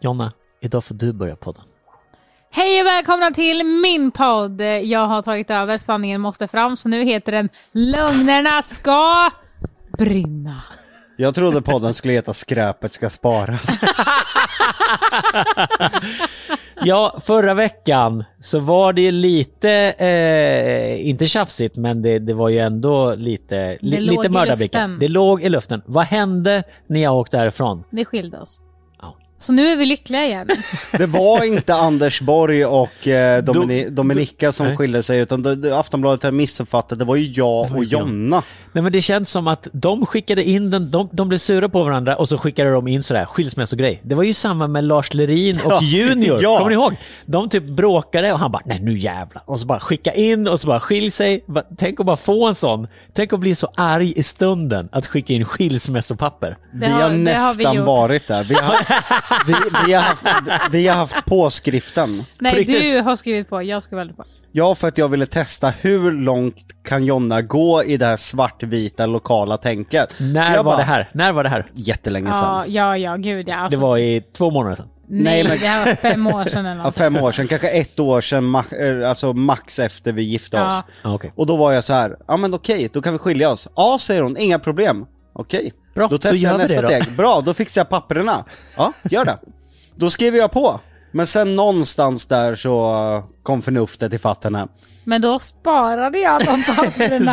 Jonna, idag får du börja podden. Hej och välkomna till min podd. Jag har tagit över Sanningen måste fram, så nu heter den Lögnerna ska brinna. Jag trodde podden skulle heta Skräpet ska sparas. Ja, förra veckan så var det ju lite, eh, inte tjafsigt, men det, det var ju ändå lite, li, låg lite i mördarblicken. luften. Det låg i luften. Vad hände när jag åkte därifrån? Vi skilde oss. Ja. Så nu är vi lyckliga igen. Det var inte Anders Borg och eh, Domini- Dominika som nej. skilde sig utan det, det, Aftonbladet har missuppfattat, det var ju jag och Jonna. Nej men det känns som att de skickade in den, de, de blev sura på varandra och så skickade de in sådär skilsmässogrej. Det var ju samma med Lars Lerin och Ja, Junior, ja. kommer ni ihåg? De typ bråkade och han bara, nej nu jävlar. Och så bara skicka in och så bara skilj sig. Bara, Tänk att bara få en sån. Tänk att bli så arg i stunden att skicka in skilsmässopapper. Vi har, har- det har vi nästan gjort. varit där. Vi har, vi, vi, har haft, vi har haft påskriften. På Nej, riktigt? du har skrivit på, jag skrev aldrig på. Ja, för att jag ville testa hur långt kan Jonna gå i det här svartvita lokala tänket. Så När jag var bara, det här? När var det här? Jättelänge sedan. Ja, ja, ja, gud ja. Det Alltså, var i två månader sedan. Nej, Nej, men- det här var fem år sedan eller Ja, något. fem år sedan, kanske ett år sedan, ma- eh, alltså max efter vi gifte Ja. oss. Ja, okej. Och då var jag så här, ja men okej, då kan vi skilja oss. Ja, säger hon, inga problem. Okej, Bra, då då testar gör jag vi nästa det då. steg. Bra, då fixar jag papperna. Ja, gör det. Då skriver jag på. Men sen någonstans där så kom förnuftet i fattarna. Men då sparade jag de papperna.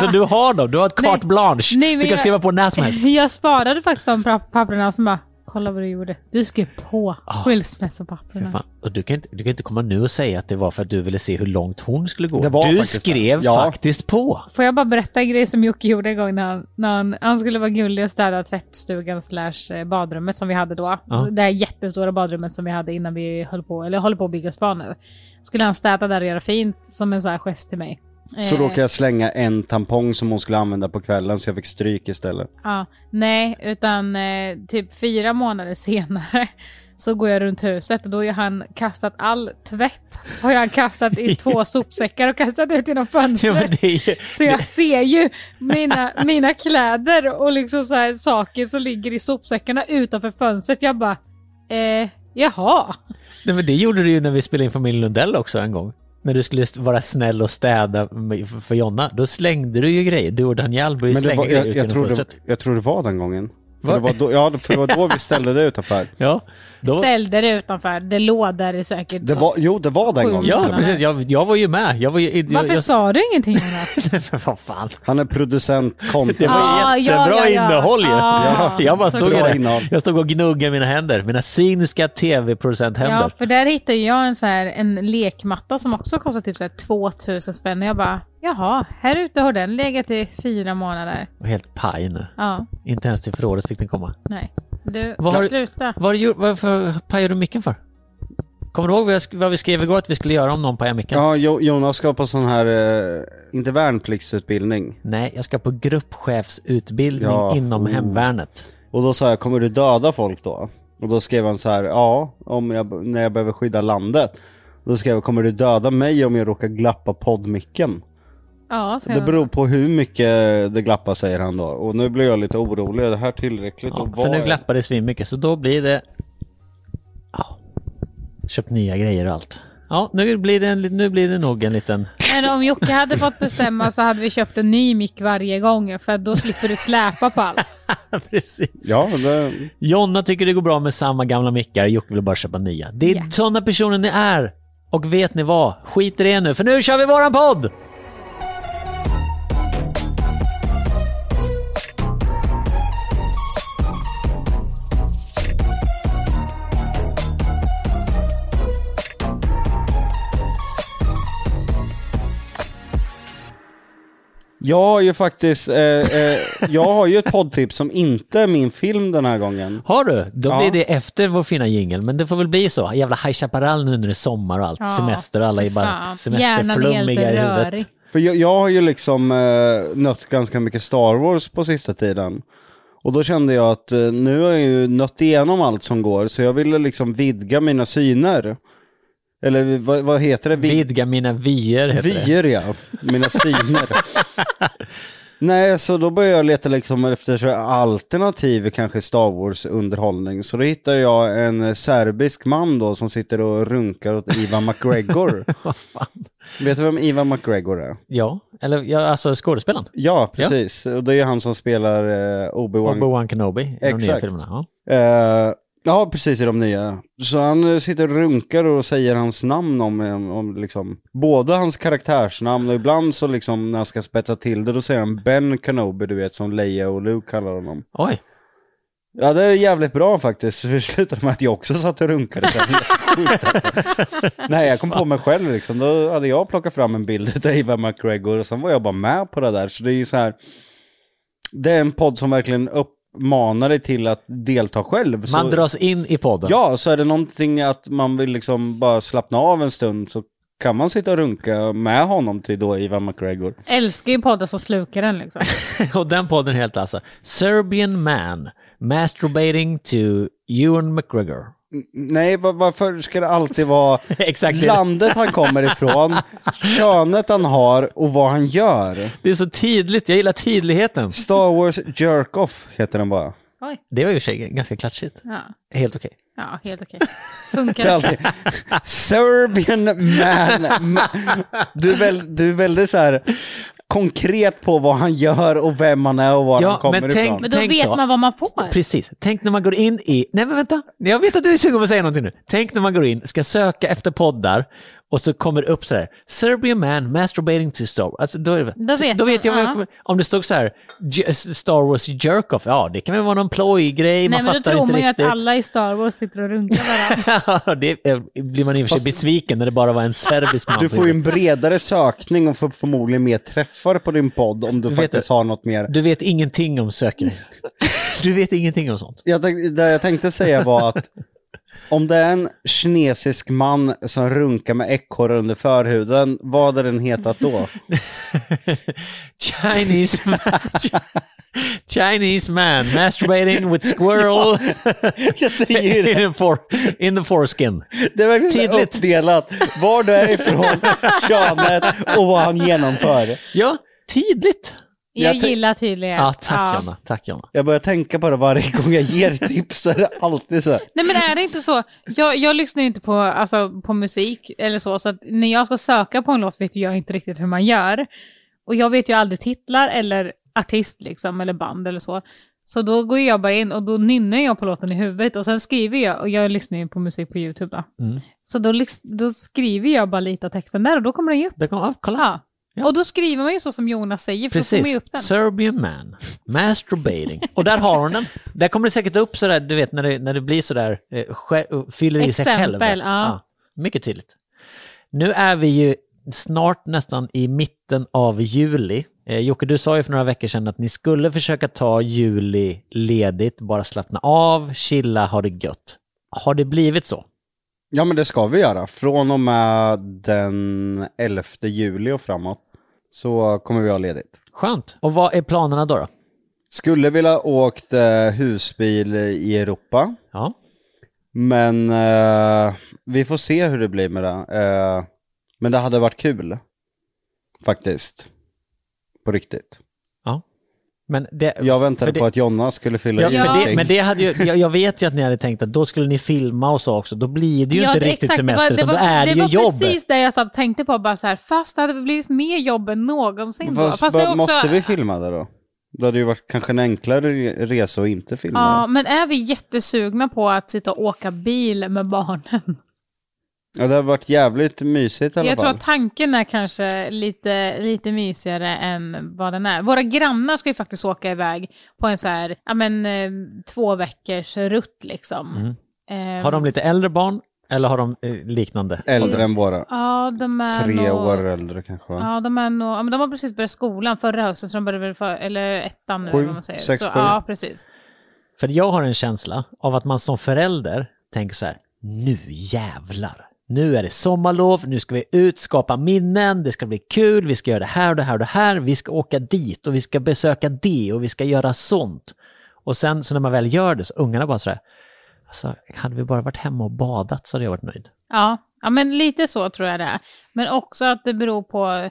Så du har dem, du har ett carte blanche. Nej, men du kan jag- skriva på när som helst. Jag sparade faktiskt de pra- papperna som bara, kolla vad du gjorde. Du skrev på Ah. skilsmässopapperna. Fan. Och du, kan inte, du kan inte komma nu och säga att det var för att du ville se hur långt hon skulle gå. Det var du faktiskt det. skrev Ja. faktiskt på. Får jag bara berätta en grej som Jocke gjorde en gång när han, när han, han skulle vara gullig och städa tvättstugan slash eh, badrummet som vi hade då. Ja. Så Det här jättestora badrummet som vi hade innan vi höll på, eller håller på att bygga spa nu. Skulle han städa där och göra fint som en sån här gest till mig. Så Eh, råkade jag slänga en tampong som hon skulle använda på kvällen så jag fick stryk istället. Ja, nej, utan eh, typ fyra månader senare så går jag runt huset och då har han kastat all tvätt. Har jag kastat i två sopsäckar och kastat ut genom Ja, men fönstret. det är ju, Så jag ser ju mina, mina kläder och liksom så här saker som ligger i sopsäckarna utanför fönstret. Jag bara, eh, jaha. nej, men det gjorde du ju när vi spelade in familjen Lundell också en gång. När du skulle vara snäll och städa med- för Jonna, då slängde du ju grejer. Du och Daniel började det slänga var, grejer jag, ut jag, genom tror det, fönstret. jag tror det var den gången. För Va? det var då, ja, för det var då vi ställde det utanför. Ja, då, Ställde det utanför, det låg där i säkert. Det var, jo, det var den Sjukt. gången. ja precis. Jag, jag var ju med. Jag var ju, jag, Varför jag, sa du ingenting Jonas? Vad fan. Han är producent, content. Det var Ah, jättebra ja, ja, ja. innehåll ju. Ah. jag bara Så stod bra där. innehåll. Jag stod och gnuggade mina händer. Mina synska tv-producenthänder. Ja, för där hittade jag en, så här, en lekmatta som också kostar typ så här 2000 spänn. Och jag bara, jaha, här ute har den legat i fyra månader. Och Helt paj nu. Ja, Inte ens till förrådet fick den komma. nej. Du, Vad har- sluta. Vad har du gjort- varför pajar du micken för? Kommer du ihåg vad, jag, sk- vad vi skrev igår att vi skulle göra om någon pajar micken? Ja, Jo- Jonas ska på sån här, eh, inte värnpliktsutbildning. Nej, jag ska på gruppchefsutbildning Ja. inom Oh. hemvärnet. Och då sa jag, kommer du döda folk då? Och då skrev han så här, ja, om jag, när jag behöver skydda landet. Och då skrev jag, kommer du döda mig om jag råkar glappa poddmicken? Ja, så Det beror på hur mycket det glappar säger han då. Och nu blir jag lite orolig, är det här tillräckligt? Ja, och för vad nu är- glappar det svinmycket, så då blir det... Ja, köpt nya grejer och allt. Ja, nu blir det, en, li- nu blir det nog en liten... Men om Jocke hade fått bestämma så hade vi köpt en ny mick varje gång. För att då slipper du släpa på allt. Precis. Ja, det... Jonna tycker det går bra med samma gamla mickar, Jocke vill bara köpa nya. Det är Ja. sådana personer ni är. Och vet ni vad? Skit i det nu, för nu kör vi våran podd! Jag har ju faktiskt, eh, eh, jag har ju ett poddtips som inte är min film den här gången. Har du? Då Ja. blir det efter vår fina jingel, men det får väl bli så. Jävla High Chaparral nu när det är sommar och allt. Ja, Semester och alla är fy bara fan. semesterflummiga Hjärnan är i helt huvudet. rörig. För jag, jag har ju liksom eh, nött ganska mycket Star Wars på sista tiden. Och då kände jag att eh, nu har jag ju nött igenom allt som går, så jag ville liksom vidga mina syner. Eller vad, vad heter det? Vid- Vidga mina vyer heter det. vyer, ja. Mina syner. Nej, så då började jag leta liksom efter så alternativ kanske Star Wars-underhållning. Så då hittade jag en eh, serbisk man då som sitter och runkar åt Ivan McGregor. Vad fan? Vet du vem Ivan McGregor är? Ja, eller ja, alltså skådespelaren. Ja, precis. Och det är han som spelar eh, Obi-Wan. Obi-Wan Kenobi i de nya Exakt. filmerna. Ja. Eh, ja, precis i de nya. Så han eh, sitter och runkar och säger hans namn om, om, om liksom, både hans karaktärsnamn och ibland så liksom när han ska spetsa till det då säger han Ben Kenobi, du vet som Leia och Luke kallar honom. Oj, Ja, det är jävligt bra faktiskt. För det slutade med att jag också satt och runkade. sen. Sjukt, alltså. Nej, jag kom på mig själv liksom. Då hade jag plockat fram en bild av Ivan McGregor och sen var jag bara med på det där. Så det är ju så här. Det är en podd som verkligen uppmanar dig till att delta själv. Så... man dras in i podden. Ja, så är det någonting att man vill liksom bara slappna av en stund så kan man sitta och runka med honom till då Ivan McGregor. Älskar ju poddar som slukar den liksom. Och den podden heter alltså Serbian Man Masturbating to Ewan McGregor. Nej, va- varför ska det alltid vara Exakt, det. landet han kommer ifrån, könet han har och vad han gör. det är så tydligt, jag gillar tydligheten. Star Wars Jerk-Off heter den bara. Oj. Det var ju i och för sig ganska klatschigt. Ja, Helt okej. ja helt okej. Det är Funkar. alltid Serbian man. Ma- Du är, väl, du är väldigt så här konkret på vad han gör och vem han är och var Ja, han kommer men tänk- ifrån. Men då Tänk vet då. man vad man får. Precis, tänk när man går in i... Nej men vänta, jag vet att du är sugen på att säga någonting nu. Tänk när man går in, ska söka efter poddar och så kommer det upp så här, Serbian man masturbating to Star Wars. Alltså, då, är det, Då vet då vet jag, man, vad jag ja. kommer- om det stod så här, J- Star Wars jerk-off, ja det kan väl vara någon plojgrej, Nej, man men då fattar tror inte man ju att riktigt. alla i Star Wars sitter och runkar varandra. Ja, det är- blir man i och för sig Fast- besviken när det bara var en serbisk man Du som får ju gjorde en bredare sökning och får förmodligen mer träffar på din podd om du Vet faktiskt har något mer. det. Du vet ingenting om sökning. Du vet ingenting om sånt. Jag tänkte, det jag tänkte säga var att om det är en kinesisk man som runkar med ekorre under förhuden, vad hade den hetat då? Chinese man, Chinese man masturbating with squirrel Jag säger ju det. in, the for, in the foreskin. Det är verkligen Tydligt. Tydligt. uppdelat. Var du är ifrån, könet och vad han genomför. Ja, tydligt. Jag, Jag tänk- gillar tydlighet. Ja, tack Ja. Jonna. Tack Jonna. Jag börjar tänka på det varje gång jag ger tips så är det alltid så här. Nej men är det inte så? Jag, jag lyssnar ju inte på, alltså, på musik eller så, så att när jag ska söka på en låt vet jag inte riktigt hur man gör. Och jag vet ju aldrig titlar eller artist liksom, eller band eller så. Så då går jag bara in och då nynnar jag på låten i huvudet och sen skriver jag, och jag lyssnar ju på musik på YouTube då. Mm. Så då, lys- då skriver jag bara lite av texten där och då kommer den ju upp. Där kom, ah, kolla. Ja. Ja. Och då skriver man ju så som Jonas säger, för då får man ju Precis. upp den. Serbian man masturbating. Och där har hon den. Där kommer det säkert upp sådär, du vet när det, när det blir sådär, eh, skä- fyller i sig själv. Exempel, ja. Mycket tydligt. Nu är vi ju snart nästan i mitten av juli. Eh, Jocke, du sa ju för några veckor sedan att ni skulle försöka ta juli ledigt, bara slappna av, chilla, ha det gött. Har det blivit så? Ja men det ska vi göra. Från och med den 11 juli och framåt så kommer vi ha ledigt. Skönt. Och vad är planerna då? då? Skulle vilja åkt eh, husbil i Europa. Ja. Men eh, vi får se hur det blir med det. Eh, men det hade varit kul. Faktiskt. På riktigt. Men det, Jag väntade för det- på att Jonna skulle fylla Ja, för i det, någonting. men det hade ju, jag, jag vet ju att ni hade tänkt att då skulle ni filma och så också. Då blir det ju inte det- riktigt exakt, det var- semester, det utan då var- är det ju Det var jobb. precis det jag satt och tänkte på, bara så här, fast det hade blivit mer jobb än någonsin. då. Fast, fast det bör- är också, Måste vi filma det då? Det hade ju varit kanske en enklare re- resa att inte filma Ja, ja. men är vi jättesugna på att sitta och åka bil med barnen? ja, det hade varit jävligt mysigt i alla Jag tror fall. att tanken är kanske lite, lite mysigare än vad den är. Våra grannar ska ju faktiskt åka iväg på en så här, ja men eh, två veckors rutt liksom. Mm. Ehm, Har de lite äldre barn eller har de eh, liknande? Äldre än våra. Ja, de är Tre nog... år äldre kanske va? Ja, de, är nog, ja, men de har precis börjat skolan förra hösten, så de började väl för, eller ettan nu, Sju, eller vad man säger. sex, så, sju. ja, precis. För jag har en känsla av att man som förälder tänker så här, nu jävlar. Nu är det sommarlov, nu ska vi ut, skapa minnen, det ska bli kul, vi ska göra det här och det här och det här, vi ska åka dit och vi ska besöka det och vi ska göra sånt. Och sen så när man väl gör det så ungarna bara så här, alltså, hade vi bara varit hemma och badat så hade jag varit nöjd. Ja, ja, men lite så tror jag det är. Men också att det beror på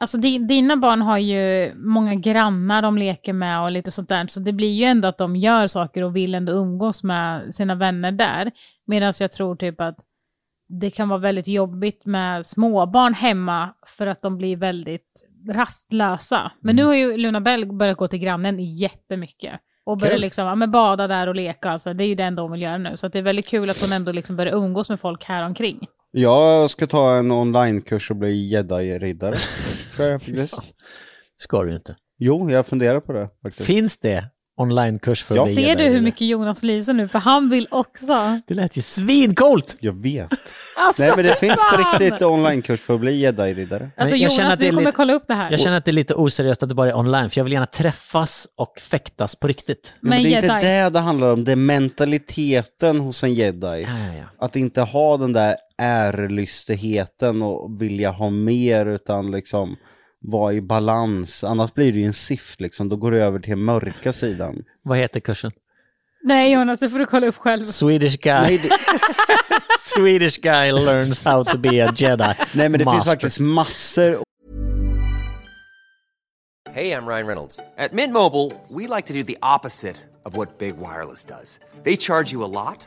Alltså di- dina barn har ju många grannar de leker med och lite sånt där. Så det blir ju ändå att de gör saker och vill ändå umgås med sina vänner där. Medan jag tror typ att det kan vara väldigt jobbigt med småbarn hemma för att de blir väldigt rastlösa. Men nu har ju Luna Bell börjat gå till grannen jättemycket. Och börjar Kul. liksom, ja, men bada där och leka. Alltså, det är ju det enda hon vill göra nu. Så att det är väldigt kul att hon ändå liksom börjar umgås med folk här omkring. Jag ska ta en onlinekurs och bli jedi-riddare. Ska jag faktiskt? Ska du ju inte. Jo, jag funderar på det faktiskt. Finns det onlinekurs för Ja. dig? Ser du eller? hur mycket Jonas lyser nu? För han vill också. Det lät ju svincoolt! Jag vet. Alltså, Nej men det finns på fan! riktigt onlinekurs för att bli jedi-riddare. Men Alltså jag Jonas, känner att det du är kommer lite- kolla upp det här. Jag känner att det är lite oseriöst att det bara är online, för jag vill gärna träffas och fäktas på riktigt. Men, Men det är jedi. inte det det handlar om, det är mentaliteten hos en jedi. Ja, ja, ja. Att inte ha den där ärlystigheten och vilja ha mer utan liksom vara i balans. Annars blir det ju en siff liksom, då går det över till mörka sidan. Vad heter kursen? Nej Jonas, det får du kolla upp själv. Swedish guy, Nej, det, Swedish guy learns how to be a jedi. nej men det finns Master. faktiskt massor Hey, I'm Ryan Reynolds. At Mint Mobile, we like to do the opposite of what Big Wireless does. They charge you a lot,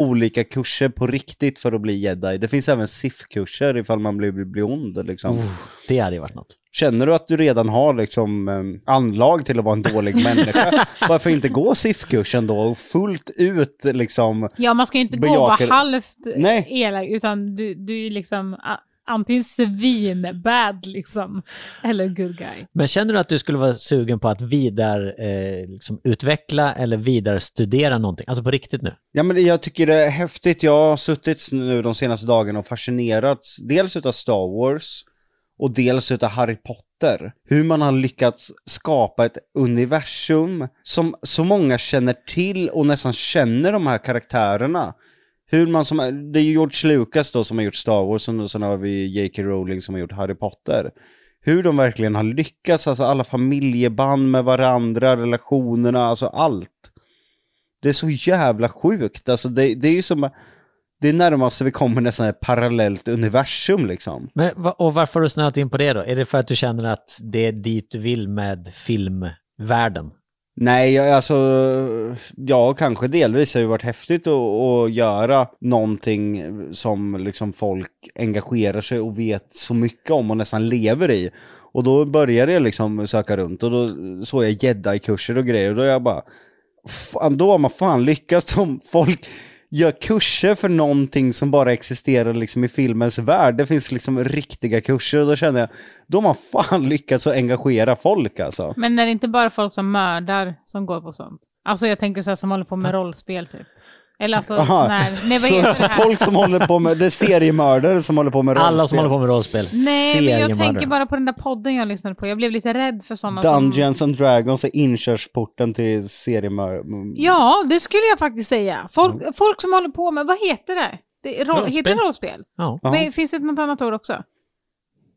olika kurser på riktigt för att bli jedi. Det finns även SIF-kurser ifall man blir, blir ond. Liksom. Det hade ju varit något. Känner du att du redan har liksom, eh, anlag till att vara en dålig människa, varför inte gå SIF-kursen då och fullt ut liksom... Ja, man ska ju inte gå och Bejakar- vara halvt Nej. elak, utan du, du är ju liksom a- antingen svin-bad liksom, eller good guy. Men känner du att du skulle vara sugen på att vidare, eh, liksom utveckla eller vidare studera någonting? Alltså på riktigt nu? Ja, men jag tycker det är häftigt. Jag har suttit nu de senaste dagarna och fascinerats dels utav Star Wars och dels utav Harry Potter. Hur man har lyckats skapa ett universum som så många känner till och nästan känner de här karaktärerna. Hur man som, det är ju George Lucas då som har gjort Star Wars och sen har vi J.K. Rowling som har gjort Harry Potter. Hur de verkligen har lyckats, alltså alla familjeband med varandra, relationerna, alltså allt. Det är så jävla sjukt. Alltså det, det är ju som... Det är närmast vi kommer nästan ett parallellt universum liksom. Men, va- och varför har du snöat in på det då? Är det för att du känner att det är dit du vill med filmvärlden? Nej, jag- alltså... Ja, kanske delvis har det ju varit häftigt att, att göra någonting som liksom folk engagerar sig och vet så mycket om och nästan lever i. Och då började jag liksom söka runt och då såg jag jedi-kurser och grejer och då jag bara... Fan, då har man fan lyckats om folk gör kurser för någonting som bara existerar liksom i filmens värld. Det finns liksom riktiga kurser och då känner jag, då har man fan lyckats att engagera folk alltså. Men är det inte bara folk som mördar som går på sånt? Alltså jag tänker så här som håller på med rollspel typ. Eller alltså sån Aha. här, nej vad Så heter det här? Folk som håller på med, det är seriemördare som håller på med Alla som håller på med rollspel. Nej, men jag seriemördare. tänker bara på den där podden jag lyssnade på. Jag blev lite rädd för sådana som... Dungeons and Dragons är inkörsporten till seriemördare. Ja, det skulle jag faktiskt säga. Folk, folk som håller på med, vad heter det? det är roll, Rollspel. heter det rollspel? Ja, Ja. Men, finns det något annat ord också?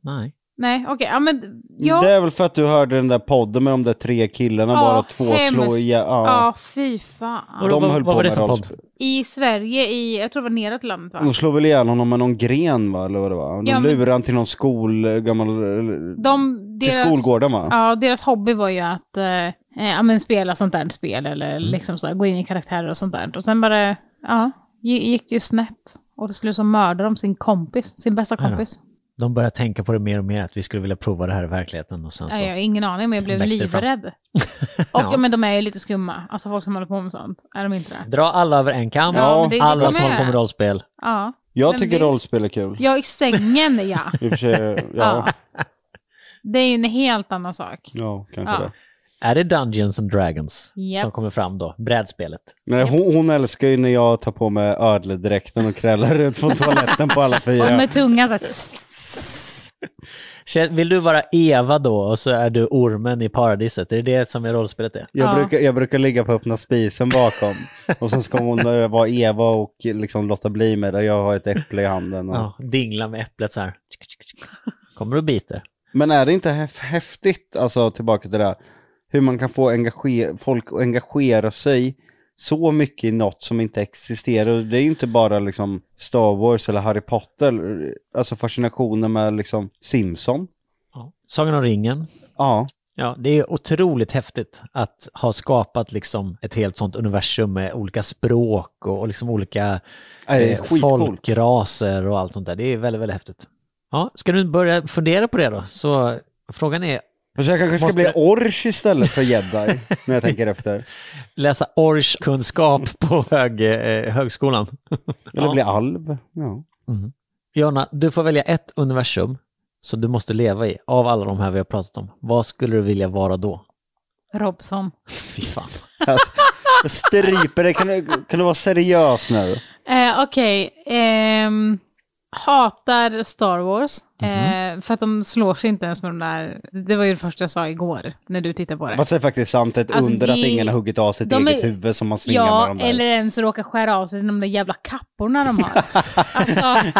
nej. Nej, okej. Ja, men ja. Det är väl för att du hörde den där podden med de där tre killarna Ja, bara två slå hemskt. igen. Ja. Ja, fy fan. Och då- De vad- höll vad på var det med för podd? rollspel. I Sverige, i, jag tror det var neråt landet va? De slår väl igen honom med någon gren va, eller vad det var? De Ja, men- lurar han till någon skol, eh, gammal, eller- De, till deras, skolgården va? Ja, deras hobby var ju att eh, eh, ja, men spela sånt där spel eller Mm. liksom så här, gå in i karaktärer och sånt där. Och sen bara, ja, gi- gick det ju snett. Och till slut så mördade de sin kompis, sin bästa då. kompis. Alltså. De börjar tänka på det mer och mer, att vi skulle vilja prova det här i verkligheten. Och sen så. Nej, jag har ingen aning, men jag blev Växte det fram? livrädd. Och Ja. ja. men de är ju lite skumma, alltså folk som håller på med sånt. Är de inte det? Dra alla över en kam, Ja, men det- det alla kommer som håller på jag. med rollspel. Ja. Jag men tycker det- rollspel är kul. Ja, i sängen ja. I och för sig, ja. ja. Det är ju en helt annan sak. Ja, kanske Ja. det. Är det Dungeons and Dragons Japp. som kommer fram då? Brädspelet. Nej, hon, hon älskar ju när jag tar på mig ödledräkten och krällar ut från toaletten på alla Och fyra. med tungan så här, Kän- Vill du vara Eva då och så är du ormen i paradiset? Är det det som är rollspelet är? Jag, Ja. brukar, jag brukar ligga på öppna spisen bakom. Och sen ska hon eh, vara Eva och liksom låta bli mig. Där jag har ett äpple i handen. Och... Ja, dingla med äpplet så här. Kommer och biter. Men är det inte häf- häftigt, alltså tillbaka till det här, hur man kan få engage- folk att engagera sig så mycket i något som inte existerar. Det är ju inte bara liksom Star Wars eller Harry Potter, alltså fascinationen med liksom Simpson. Ja. Sagan om ringen. Ja, Ja, det är otroligt häftigt att ha skapat liksom ett helt sånt universum med olika språk och, och liksom olika Nej, det är eh, skitcoolt. folkraser och allt sånt där. Det är väldigt, väldigt häftigt. Ja, ska du börja fundera på det då? Så frågan är, Så jag kanske ska Måste- bli orch istället för jedi, när jag tänker efter. läsa orchkunskap på hög, eh, högskolan. Eller Ja. bli alv. Ja. Jonna, du får välja ett universum som du måste leva i av alla de här vi har pratat om. Vad skulle du vilja vara då? Robson. Fy fan. Alltså, jag stryper dig, kan du, kan du vara seriös nu? Eh, Okej. ehm, hatar Star Wars. Mhm. Eh, för att de slår sig inte ens med de där... Det var ju det första jag sa igår när du tittade på det. Fast det är faktiskt sant, ett Alltså, under det- att ingen har huggit av sitt de eget är- huvud som man svingar med Ja, de där. eller ens råka skära av sig de där jävla kapporna de har. alltså,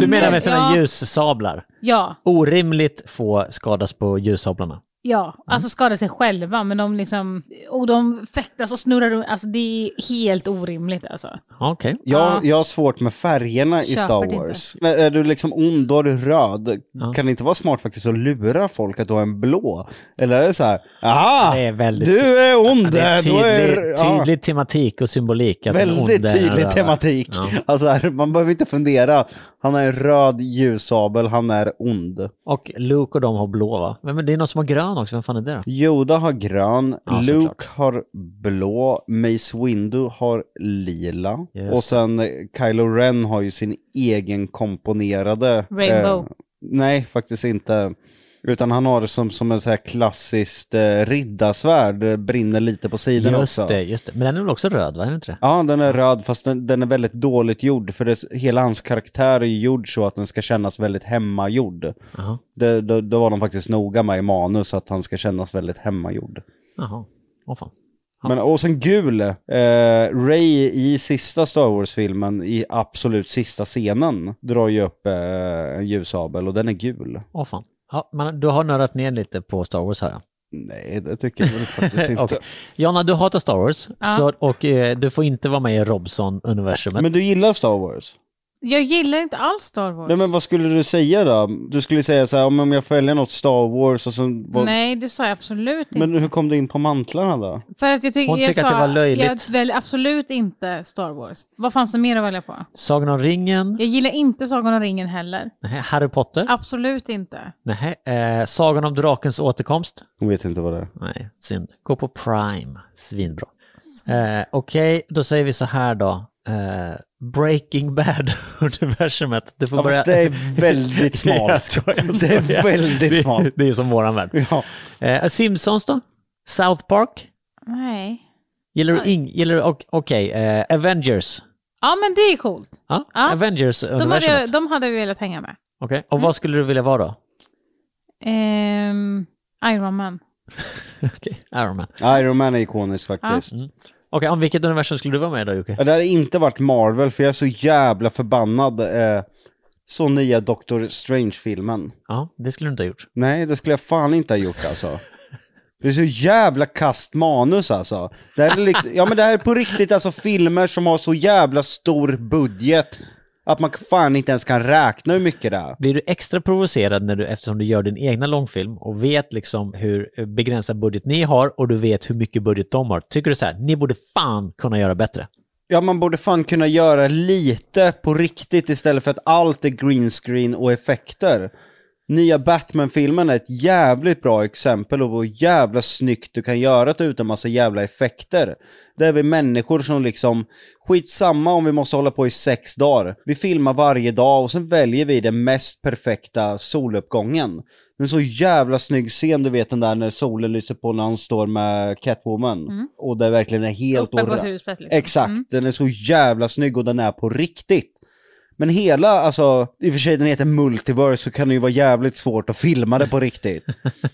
Du menar med Men- sina Ja. ljussablar? ja, Orimligt få skadas på ljussablarna. ja. Alltså skadar sig själva, men de liksom... Och de fäktas och snurrar runt. Alltså det är helt orimligt alltså. Okej. Jag, Ja. jag har svårt med färgerna i Köper Star det Wars. Men Är du liksom ond, då är du röd. Ja. Kan det inte vara smart faktiskt att lura folk att du har en blå? Eller är det så här, aha, Det är väldigt... Ah, du är ond, det är då är tydlig, tydlig tematik och symbolik. ja, att den Väldigt onde är en tydlig rövare. tematik. Ja. Alltså här, man behöver inte fundera. Han är en röd ljussabel, han är ond. Och Luke och de har blå va? Men men det är någon som har grön också, vem fan är det då? Yoda har grön, Ja, Luke såklart. har blå, Mace Windu har lila Just och sen eh, Kylo Ren har ju sin egen komponerade... eh, Rainbow. nej, faktiskt inte. Utan han har det som, som en så här klassiskt eh, riddarsvärd, eh, brinner lite på sidan Just också. det, just det. Men den är väl också röd va? Är det inte det? Ja, den är röd fast den, den är väldigt dåligt gjord för det, hela hans karaktär är ju gjord så att den ska kännas väldigt hemmagjord. Jaha. Det, det, det var de faktiskt noga med i manus att han ska kännas väldigt hemmagjord. Jaha. Åh fan. Men, och sen gul, eh, Ray i sista Star Wars-filmen, i absolut sista scenen, drar ju upp eh, en ljussabel och den är gul. Åh fan. Ja, man, du har nördat ner lite på Star Wars hör jag. Nej, det tycker jag väl faktiskt inte. Okej. Jonna, du hatar Star Wars Ja. så, och eh, du får inte vara med i Robson-universumet. Men du gillar Star Wars? Jag gillar inte alls Star Wars. Nej men vad skulle du säga då? Du skulle säga så här, om om jag följer något Star Wars och sen... Vad... Nej, det sa jag absolut inte. Men hur kom du in på mantlarna då? För att jag tycker, Hon tycker jag att det sa- var löjligt. Jag väljer absolut inte Star Wars. Vad fanns det mer att välja på? Sagan om ringen? Jag gillar inte Sagan om ringen heller. Nej, Harry Potter? Absolut inte. Nej, eh, Sagan om drakens återkomst? Jag vet inte vad det är. Nej, synd. Gå på Prime. Svinbra. Eh, Okej, då säger vi så här då. Eh, Breaking Bad-universumet. Du får Ja, börja... fast det är väldigt Jag smart. skojar, jag det är skojar. väldigt smart. Det, det är som våran värld. Ja. Eh, Simpsons då? South Park? Nej. Gillar du ing... Gillar du... ok- Okej, eh, Avengers? Ja, men det är coolt. Ja, Ja. De hade, Avengers-universumet. jag- de hade jag velat hänga med. Okej, och Mm. vad skulle du vilja vara då? Ehm, Iron Man. Okej, Iron Man. Iron Man är ikonisk faktiskt. Okej, om vilket universum skulle du vara med i då Jocke? Ja, Det hade inte varit Marvel för jag är så jävla förbannad. Eh, så nya Doctor Strange-filmen. Ja, det skulle du inte ha gjort. Nej, det skulle jag fan inte ha gjort alltså. Det är så jävla kast manus alltså. Det här är, liksom, ja, men det här är på riktigt alltså filmer som har så jävla stor budget att man fan inte ens kan räkna hur mycket det är. Blir du extra provocerad när du, eftersom du gör din egna långfilm och vet liksom hur begränsad budget ni har och du vet hur mycket budget de har? Tycker du så här, ni borde fan kunna göra bättre? Ja, man borde fan kunna göra lite på riktigt istället för att allt är green screen och effekter. Nya Batman-filmen är ett jävligt bra exempel och hur jävla snyggt du kan göra det utan massa jävla effekter. Där är vi människor som liksom, skitsamma om vi måste hålla på i sex dagar. Vi filmar varje dag och sen väljer vi den mest perfekta soluppgången. En så jävla snygg scen, du vet den där när solen lyser på när han står med Catwoman. Och det verkligen är helt Mm. Uppe på orra- huset. Liksom. Exakt, den är så jävla snygg och den är på riktigt. Men hela, alltså, i och för sig den heter Multiverse så kan det ju vara jävligt svårt att filma det på riktigt.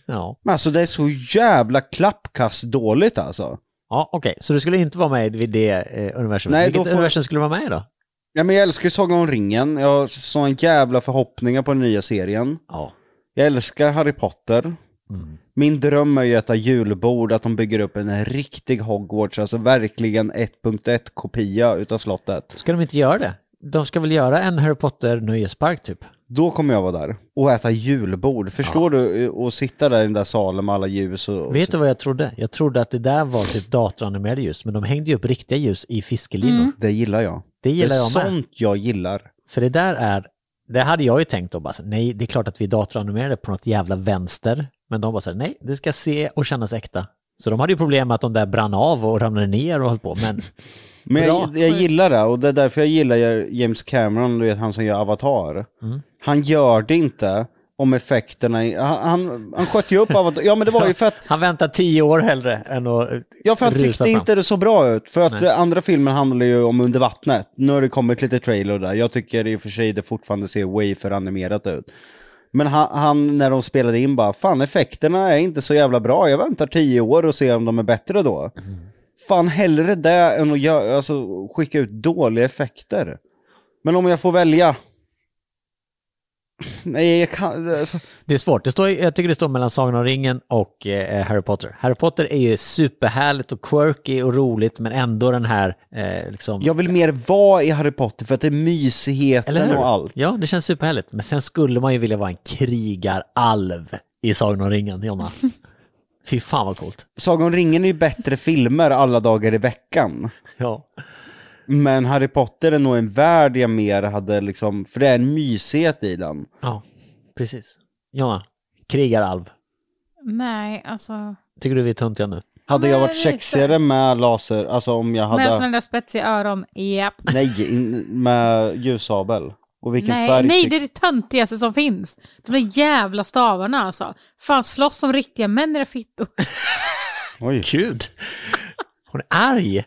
Ja, Men alltså det är så jävla klappkast dåligt alltså. ja okej. Så du skulle inte vara med vid det eh, universumet. Nej, Vilket då får- universum skulle du vara med i då? Ja men jag älskar Sagan om ringen, jag har sån jävla förhoppningar på den nya serien. Ja. Jag älskar Harry Potter. Mm. Min dröm är ju att ha julbord, att de bygger upp en riktig Hogwarts, alltså verkligen 1.1 kopia utav slottet. Ska de inte göra det? De ska väl göra en Harry Potter-nöjespark typ? Då kommer jag vara där och äta julbord. Förstår du? Eh, Och sitta där i den där salen med alla ljus och... Vet du vad jag trodde? Jag trodde att det där var typ datoranimerade ljus, men de hängde ju upp riktiga ljus i fiskelinor. Det gillar jag. Det gillar det är jag med. sånt jag gillar. För det där är, det hade jag ju tänkt då bara, så, nej det är klart att vi datoranimerade på något jävla vänster. Men de bara så här, nej det ska se och kännas äkta. Så de hade ju problem med att de där brann av och ramlade ner och höll på. Men Men Bra. jag, jag gillar det och det är därför jag gillar James Cameron, du vet han som gör Avatar. Mm. Han gör det inte om effekterna, i- han, han, han sköt ju upp Avatar, ja men det var ju för att han väntar tio år hellre än att eh, Ja, för han rusa tyckte fram. inte det så bra ut. För att Nej. eh, andra filmen handlar ju om under vattnet. Nu har det kommit lite trailer där. Jag tycker i och för sig det fortfarande ser way för animerat ut. Men han, han, när de spelade in bara, fan effekterna är inte så jävla bra. Jag väntar tio år och ser om de är bättre då. Mm. Fan hellre det än att göra, alltså, skicka ut dåliga effekter. Men om jag får välja. Nej, jag kan... Alltså, Det är svårt. Det står, jag tycker det står mellan Sagan om ringen och eh, Harry Potter. Harry Potter är ju superhärligt och quirky och roligt men ändå den här eh, liksom... jag vill mer vara i Harry Potter för att det är mysigheten och allt. Ja, det känns superhärligt. Men sen skulle man ju vilja vara en krigaralv i Sagan om ringen, Jonna. Fy fan vad coolt. Sagan om ringen är ju bättre filmer alla dagar i veckan. Ja. Men Harry Potter är nog en värld jag mer hade liksom, för det är en mysighet i den. Ja, precis. Jonna, krigaralv. Mm. Nej, alltså. Tycker du vi är töntiga nu? Hade jag Nej, varit lite. sexigare med laser, alltså om jag Med hade... sådana där spetsiga öron, japp. Nej, in- med ljussabel. Och vilken Nej, färg nej fick- det är det töntigaste som finns. De där jävla stavarna alltså. Fan slåss som riktiga män era fittor. Oj. Gud! Hon är arg!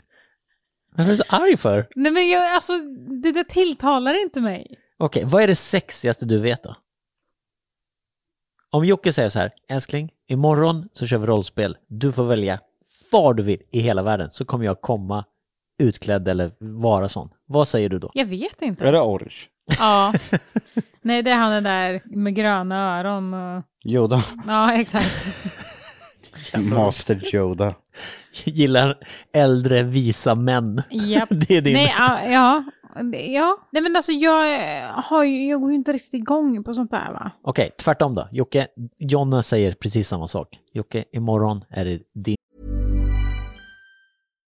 Varför är du så arg för? Nej men jag, alltså det där tilltalar inte mig. Okej, vad är det sexigaste du vet då? Om Jocke säger så här, älskling, imorgon så kör vi rollspel. Du får välja var du vill i hela världen så kommer jag komma utklädd eller vara sån. Vad säger du då? Jag vet Är inte. det orange? Ja. Nej det är han den där med gröna öron och... Yoda. Ja exakt. Master Yoda. Gillar äldre visa män. Japp. Det är din... Nej, ja, ja. Ja, nej men alltså jag, har ju, jag går ju inte riktigt igång på sånt där va. Okej, tvärtom då. Jocke, Jonna säger precis samma sak. Jocke, imorgon är det din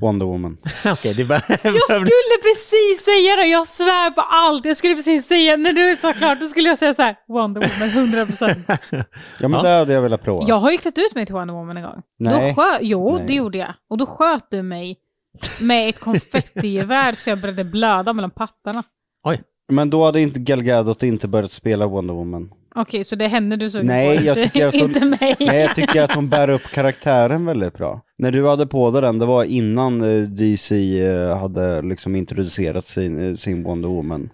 Wonder Woman. Okej, det är bara... Jag skulle precis säga det, jag svär på allt. Jag skulle precis säga, när du sa klart, då skulle jag säga så här, Wonder Woman 100%. Ja men Ja. det hade jag velat prova. Jag har ju klätt ut mig till Wonder Woman en gång. Nej. Då skö- jo, Nej. det gjorde jag. Och då sköt du mig med ett konfettigevär så jag började blöda mellan pattarna. Oj, Men då hade inte Gal Gadot inte börjat spela Wonder Woman. Okej, så det är henne du såg Nej, på, jag tycker att de- inte mig. Nej, jag tycker att hon bär upp karaktären väldigt bra. När du hade på dig den, det var innan eh, DC eh, hade liksom introducerat sin, eh, sin Wonder Woman.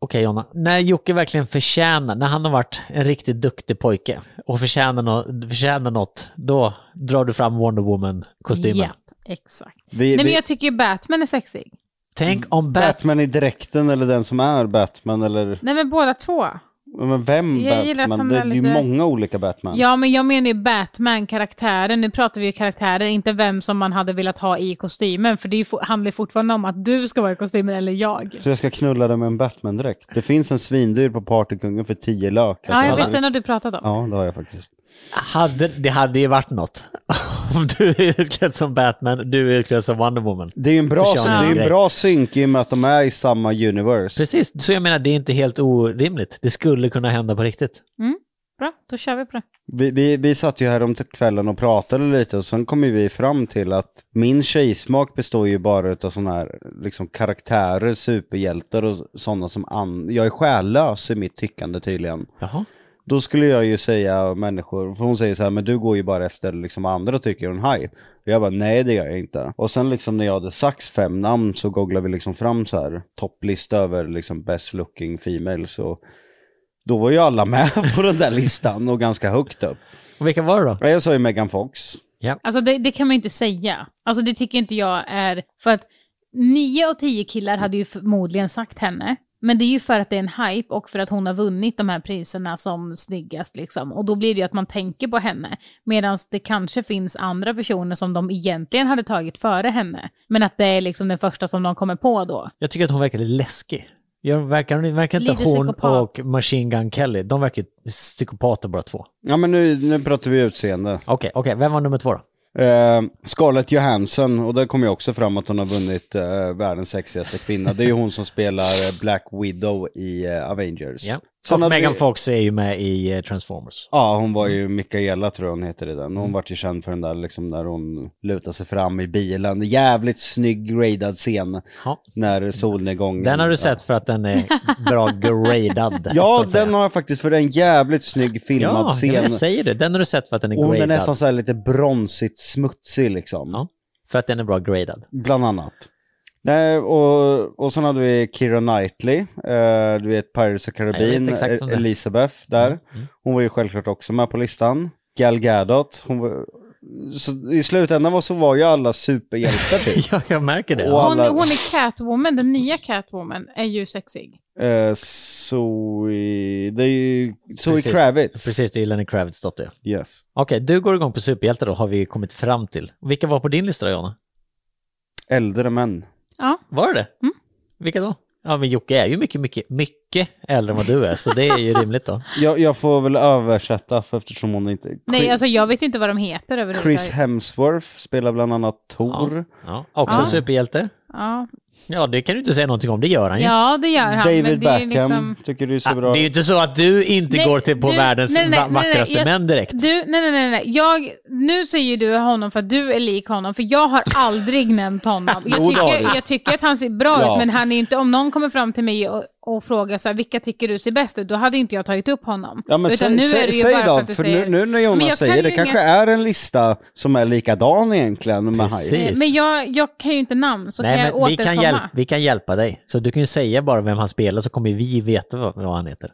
Okej Jonna, när Jocke verkligen förtjänar, när han har varit en riktigt duktig pojke och förtjänar, no- förtjänar något, då drar du fram Wonder Woman-kostymen. Ja, exakt. Vi, Nej, men vi, jag tycker Batman är sexig. Mm. Tänk om Bat- Batman i dräkten eller den som är Batman eller... Nej, men båda två. Men vem Jag gillar att Batman? han Det, är det är ju lite- många olika Batman. Ja, men jag menar ju Batman-karaktären. Nu pratar vi ju karaktärer, inte vem som man hade velat ha i kostymen. För det är ju fo- handlar ju fortfarande om att du ska vara i kostymen eller jag. Så jag ska knulla dig med en Batman-dräkt. Det finns en svindyr på Partykungen för 10 lök. Alltså, Ja, jag vet det. den har du pratat om. Ja, det har jag faktiskt. Hade, det hade ju varit något. Om du är utklädd som Batman, du är utklädd som Wonder Woman. Det är ju en bra, Så det kör är ni ju en grej. bra synk i och med att de är i samma universe. Precis, så jag menar det är inte helt orimligt. Det skulle kunna hända på riktigt. Bra, då kör vi på det. Vi, vi, vi satt ju här om kvällen och pratade lite och sen kom ju vi fram till att min tjejsmak består ju bara av sådana här liksom, karaktärer, superhjältar och sådana som an... Jag är själlös i mitt tyckande tydligen. Jaha. Då skulle jag ju säga människor, för hon säger så här, men du går ju bara efter liksom vad andra tycker är en haj. Och jag bara, nej det gör jag inte. Och sen liksom när jag hade sagt fem namn så googlade vi liksom fram så här, topplista över liksom best looking females och då var ju alla med på den där listan och ganska högt upp. Och vilka var det då? Ja, Jag sa ju Megan Fox. Alltså det, det kan man ju inte säga. Alltså det tycker inte jag är... För att nio av tio killar hade ju förmodligen sagt henne. Men det är ju för att det är en hype och för att hon har vunnit de här priserna som snyggast liksom. Och då blir det ju att man tänker på henne. Medan det kanske finns andra personer som de egentligen hade tagit före henne. Men att det är liksom den första som de kommer på då. Jag tycker att hon verkar lite läskig. Jag verkar, verkar inte Lite hon psykopat. och Machine Gun Kelly, de verkar ju psykopater båda två. Ja men nu, nu pratar vi utseende. Okej, okej, vem var nummer två då? Eh, Scarlett Johansson, och där kom jag också fram att hon har vunnit eh, världens sexigaste kvinna. Det är ju hon som spelar eh, Black Widow i eh, Avengers. Ja. Sen Och hade Megan vi- Fox är ju med i eh, Transformers. Ja, hon var ju Mikaela tror jag hon heter i den. Hon vart ju känd för den där liksom när hon lutade sig fram i bilen. Jävligt snygg gradad scen Ja. när solnedgången. Den har du sett för att den är bra gradad. så Ja, att säga. den har jag faktiskt för det är en jävligt snygg filmad Ja, scen. jag, jag säger det. Den har du sett för att den är Och gradad. den är nästan så här lite bronsigt smutsig liksom. Ja. För att den är bra gradad. Bland annat. Nej, och, och sen hade vi Keira Knightley, eh, du vet Pirates of Jag Caribbean, vet exakt eh, vem det är. Elisabeth där. Mm. Hon var ju självklart också med på listan. Gal Gadot, hon var... Så i slutändan var- så var ju alla superhjältar typ. Ja, jag märker det. Och- Ja. Hon, alla- hon är Catwoman, den nya Catwoman är ju sexig. eh, Zoe... Det är ju Zoe Precis. Kravitz. Precis, det är Lenny Kravitz dotter. ja. Yes. Okej, du går igång på superhjältar då, har vi kommit fram till. Vilka var på din lista då, Jonna? Äldre män. Ja, Var det det? Mm. Vilka då? Ja, men Jocke är ju mycket, mycket, mycket äldre än vad du är, så det är ju rimligt då. Jag, jag får väl översätta för eftersom hon inte... nej Chris- alltså jag vet ju inte vad de heter överhuvudtaget. Chris Hemsworth spelar bland annat Thor. Ja, också Ja. superhjälte. ja. Ja, det kan du inte säga någonting om, det gör han ju. ja, det gör han. men David det är ju Beckham liksom- tycker du är så Ah, bra. Det är ju inte så att du inte Nej, går till på du- världens nej, nej, va- nej, vackraste nej, jag- män direkt. Du, nej, nej, nej, nej. Jag, nu säger du honom för att du är lik honom, för jag har aldrig nämnt honom. Jag Jo, det har tycker, du. jag tycker att han ser bra Ja. ut, men han är ju inte, om någon kommer fram till mig och, och frågar så här, vilka tycker du ser bäst ut, då hade inte jag tagit upp honom. Ja men Utan säg, nu är säg, det ju säg bara då, för att du för nu, säger... nu när Men Jonas jag kan säger det ju kanske är en lista som är likadan egentligen med Precis. Hype. Eh, Men jag, jag kan ju inte namn, så kan Nej, jag men vi återkomma. kan, hjälp, vi kan hjälpa dig. Så du kan ju säga bara vem han spelar så kommer vi veta vad, vad han heter.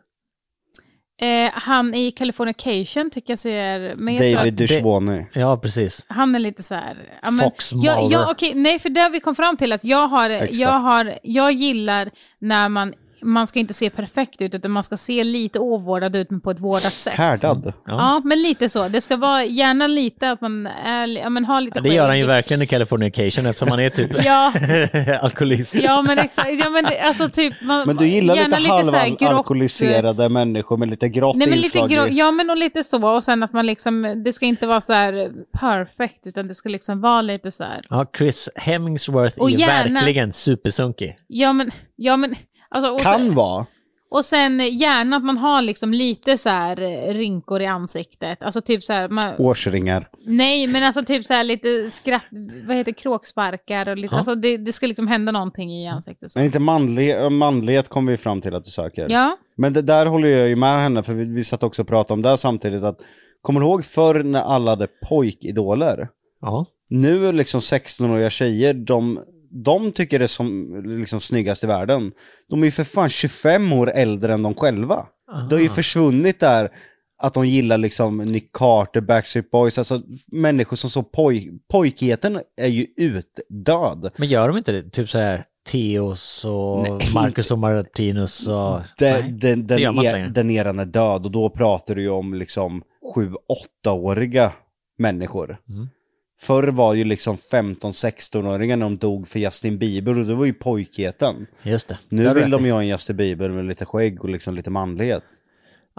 eh, han i Californication tycker jag ser... Men jag tror att- David det- Duchovny. Ja, precis. Han är lite så här... ja, men- Fox ja, Mulder. ja, okej, Nej, för där vi kom fram till att jag har... Exakt. Jag, har, jag gillar när man... Man ska inte se perfekt ut, utan man ska se lite ovårdad ut, men på ett vårdat sätt. Härdad. Ja, men lite så. Det ska vara gärna lite att man är, ja, men har lite Det gör han ju skägg. verkligen i Californication eftersom han är typ Ja, alkoholist. ja, men exakt. Ja, men det, alltså typ... Man, Men du gillar gärna lite så här grått, halvalkoholiserade människor med lite grått Nej, men lite inslag. grå, i- ja, men och lite så. Och sen att man liksom, det ska inte vara så här perfekt, utan det ska liksom vara lite så här... Ja, Chris Hemsworth Och är gärna- verkligen supersunkig. Ja, men... Ja, men alltså, och så- Kan vara. Och sen gärna att man har liksom lite så här eh, rynkor i ansiktet. Alltså typ så här, man, Årsringar. nej men alltså typ så här lite skratt, vad heter det, kråksparkar och lite, Ja. alltså det, det ska liksom hända någonting i ansiktet. Så. Nej, inte manlig, manlighet kommer vi fram till att du söker. Ja, Men det där håller jag ju med henne, för vi, vi satt också och pratade om det här samtidigt. Att, kommer du ihåg förr när alla hade pojkidoler? Ja. Nu är liksom 16-åriga tjejer, de, de tycker det är som liksom snyggast i världen. De är ju för fan 25 år äldre än de själva. Det har ju försvunnit där att de gillar liksom Nick Carter, Backstreet Boys, alltså människor som så poj, pojkigheten är ju utdöd. Men gör de inte det? Typ så här, Teos och Marcus och Martinus och... Nej, Den, den, det gör den, man inte er, längre. den eran är död och då pratar du ju om liksom 7-8-åriga människor. Mm. Förr var ju liksom 15-16-åringar när de dog för Justin Bieber och det var ju pojkheten. Just det. Nu Där har du vill rätt de i. ju ha en Justin Bieber med lite skägg och liksom lite manlighet.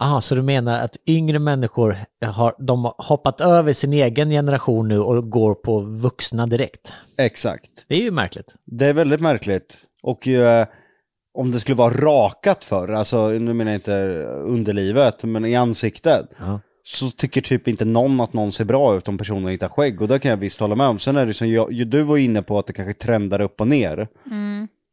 Aha, så du menar att yngre människor har, de har hoppat över sin egen generation nu och går på vuxna direkt? Exakt. Det är ju märkligt. Det är väldigt märkligt. Och eh, om det skulle vara rakat förr, alltså nu menar jag inte underlivet, men i ansiktet. Ja. så tycker typ inte någon att någon ser bra ut om personen inte har skägg. Och det kan jag visst hålla med om. Sen är det som jag, ju- du var inne på att det kanske trendar upp och ner.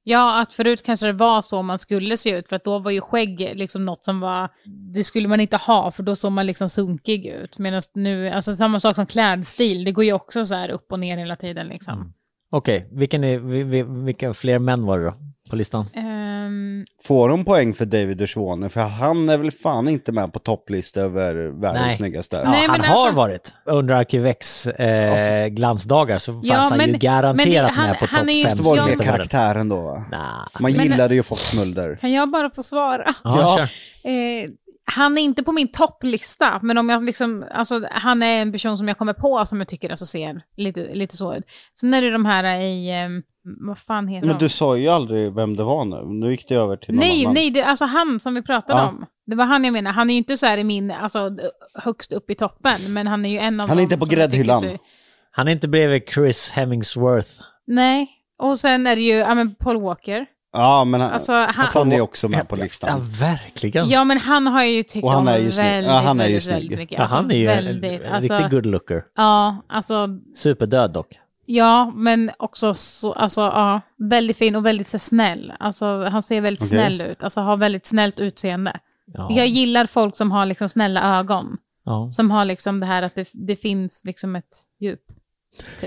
Ja, att förut kanske det var så man skulle se ut, för att då var ju skägg liksom något som var, det skulle man inte ha, för då såg man liksom sunkig ut. Medan nu, alltså samma sak som klädstil, det går ju också så här upp och ner hela tiden liksom. Okej, vilken är, vi- vi- vilka fler män var det då på listan? Ehm, Får de poäng för David Duchovny? För han är väl fan inte med på topplista över världens Nej. snyggaste. Ja, Nej, han men har alltså- varit. Under Arkivex eh, glansdagar så fanns han ju garanterat men det- med på han- topp han är ju- fem Det var ju jag- mer snyggaste världen. karaktären då va? Nah. Man Men- gillade ju Foxmulder. kan jag bara få svara? Ja, Ja. kör. Eh, han är inte på min topplista, men om jag liksom, alltså, han är en person som jag kommer på som jag tycker alltså ser lite, lite så ut. Sen är det de här i, ehm, vad fan heter Men de? du sa ju aldrig vem det var nu. Nu gick det över till någon Nej, annan. nej, det, alltså han som vi pratade Ja. om. Det var han jag menar. Han är ju inte så här i min, alltså högst upp i toppen, men han är ju en av Han dem är inte på som jag tycker gräddhyllan. ser- Han är inte bredvid Chris Hemmingsworth. Nej, och sen är det ju, ja men Paul Walker. Ja, men han, Alltså, han- fast han är ju också med på Ja, listan. verkligen. Ja, men han har jag ju tyckt Och han om är ju snygg. väldigt, Ja, han är ju väldigt, snygg. väldigt mycket. Ja, Alltså, han är ju väldigt, en alltså, riktig good looker. Ja, alltså, Superdöd dock. ja, men också så, alltså, ja, väldigt fin och väldigt så snäll. Alltså, han ser väldigt Okej. snäll ut, alltså har väldigt snällt utseende. Ja. Jag gillar folk som har liksom snälla ögon. Ja. Som har liksom det här att det, det finns liksom ett djup.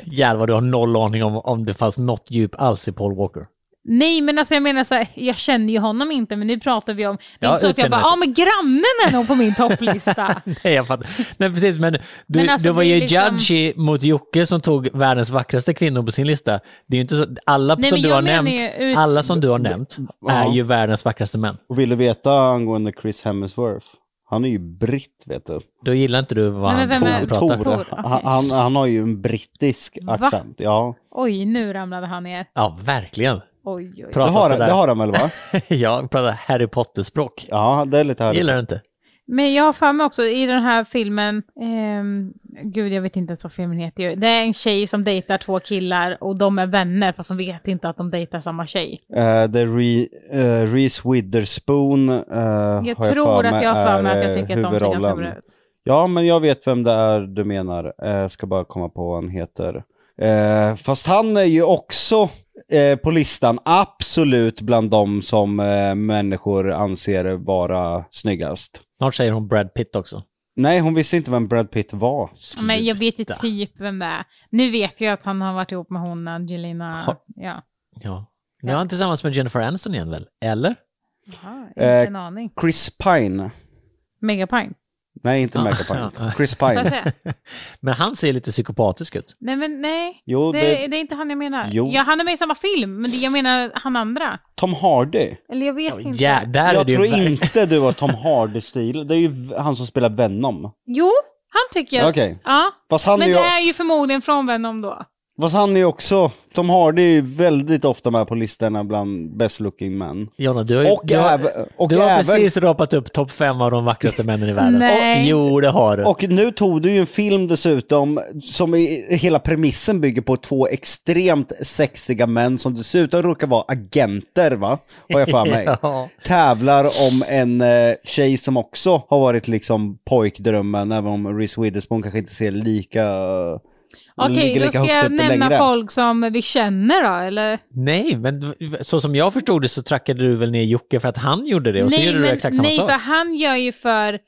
Jävlar vad du har noll aning om om det fanns något djup alls i Paul Walker. Nej men alltså jag menar så här, jag känner ju honom inte men nu pratar vi om, det är Ja, inte så att jag bara, ja ah, men utseendemässigt. grannen är nog på min topplista. Nej, jag fattar. Nej, precis, men du, Men alltså, det var det är ju liksom- judgy mot Jocke som tog världens vackraste kvinnor på sin lista. Det är ju inte så, alla Nej, som men du jag har menar nämnt, ju ut- alla som du har nämnt är Ja. ju världens vackraste män. Och vill du veta angående Chris Hemsworth? Han är ju britt vet du. Då gillar inte du vad Nej, men han vem tror är- och pratar. Tor, Tor, Tor. okej. Han, han, han har ju en brittisk Va? accent. Ja. Oj, nu ramlade han ner. Ja, verkligen. Oj, oj. Pra- Det Pratar har, sådär. det har han väl va? Jag pratar Harry Potter-språk. Ja, det är lite härligt. Gillar du inte? Men jag har för mig också i den här filmen, ehm, gud jag vet inte ens vad filmen heter ju. Det är en tjej som dejtar två killar och de är vänner fast de vet inte att de dejtar samma tjej. Eh, det är Re, eh, Reese Witherspoon. eh, har Jag för tror att jag har för mig att jag är, eh, tycker att de ser ganska huvudrollen. bra ut. Ja, men jag vet vem det är du menar. Eh, ska bara komma på vad han heter. Eh, fast han är ju också eh, på listan absolut bland de som eh, människor anser vara snyggast. Snart säger hon Brad Pitt också. Nej, hon visste inte vem Brad Pitt var. Men jag vet ju Sluta. typ vem det är. Nu vet jag att han har varit ihop med hon Angelina. Har- Ja. Ja. Nu är han tillsammans med Jennifer Aniston igen väl? Eller? Jaha, inte Eh, en aning. Chris Pine. Megapint. Nej, inte Ja. Michael Pine. Ja. Chris Får jag Pine. säga? Men han ser lite psykopatisk ut. Nej men nej. Jo, det, det- det... är inte han jag menar. Jo. Ja, han är med i samma film, men det, jag menar han andra. Tom Hardy? Eller jag vet inte. Ja, där är jag det ju tror verkligen- inte du har Tom Hardy-stil. Det är ju v- han som spelar Venom. Jo, han tycker jag. Okej. Ja. Fast han, men är ju, det är ju förmodligen från Venom då. fast han är ju också... Tom Hardy är ju väldigt ofta med på listorna bland best looking men. Jonna, du har, ju- Och du har, även- och du har även- precis rapat upp topp fem av de vackraste männen i världen. Nej. Jo, det har du. Och nu tog du ju en film dessutom som i, hela premissen bygger på två extremt sexiga män som dessutom råkar vara agenter, va? Har jag för mig. Ja. Tävlar om en eh, tjej som också har varit liksom pojkdrömmen, även om Reese Witherspoon kanske inte ser lika... eh, Okej, då ligger lika ska högt jag uppe nämna längre. folk som vi känner då, eller? Nej, men så som jag förstod det så trackade du väl ner Jocke för att han gjorde det och så gjorde du exakt samma nej, sak. för han gör ju för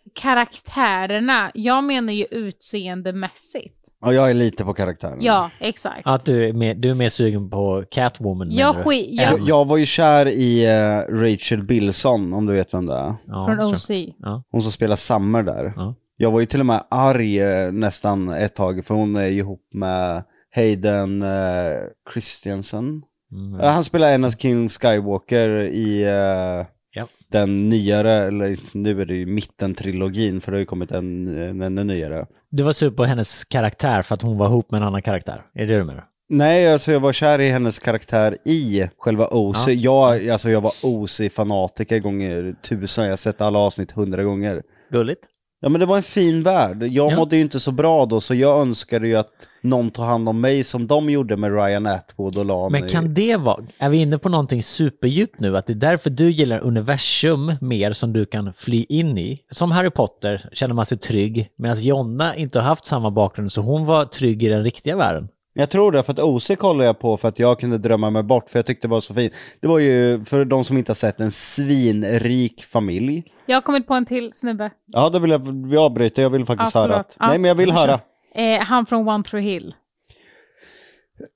karaktärerna. Jag menar ju utseendemässigt. Ja, jag är lite på Mm. karaktären. Ja, exakt. Att du är, mer, du är mer sugen på Catwoman Jag menar du? skit- Än- jag- Jag, jag var ju kär i eh, Rachel Bilson, om du vet vem det är. Ja, från så. OC. Ja. Hon som spelar Summer där. Ja. Jag var ju till och med arg eh, nästan ett tag, för hon är ju ihop med Hayden eh, Christiansen. Mm. Eh, Han spelar en av King Skywalker i eh, Ja. den nyare, eller nu är det ju mitten-trilogin för det har ju kommit en, en ännu nyare. Du var sur på hennes karaktär för att hon var ihop med en annan karaktär. Är det det du menar? Nej, alltså jag var kär i hennes karaktär i själva OC. Jag, alltså jag var OC-fanatiker gånger tusen, jag har sett alla avsnitt hundra gånger. Gulligt. Ja men det var en fin värld. Jag Ja. mådde ju inte så bra då så jag önskade ju att någon tar hand om mig som de gjorde med Ryan Atwood och Lana. Men kan det vara, är vi inne på någonting superdjupt nu, att det är därför du gillar universum mer som du kan fly in i? Som Harry Potter känner man sig trygg, medan Jonna inte har haft samma bakgrund, så hon var trygg i den riktiga världen. Jag tror det, för att OC kollade jag på för att jag kunde drömma mig bort för jag tyckte det var så fint. Det var ju, för de som inte har sett, en svinrik familj. Jag har kommit på en till snubbe. Ja, det vill jag, jag avbryter, jag vill faktiskt Ja, höra. förlåt. Ja, Nej men jag vill kör. höra. Eh, han från One Tree Hill.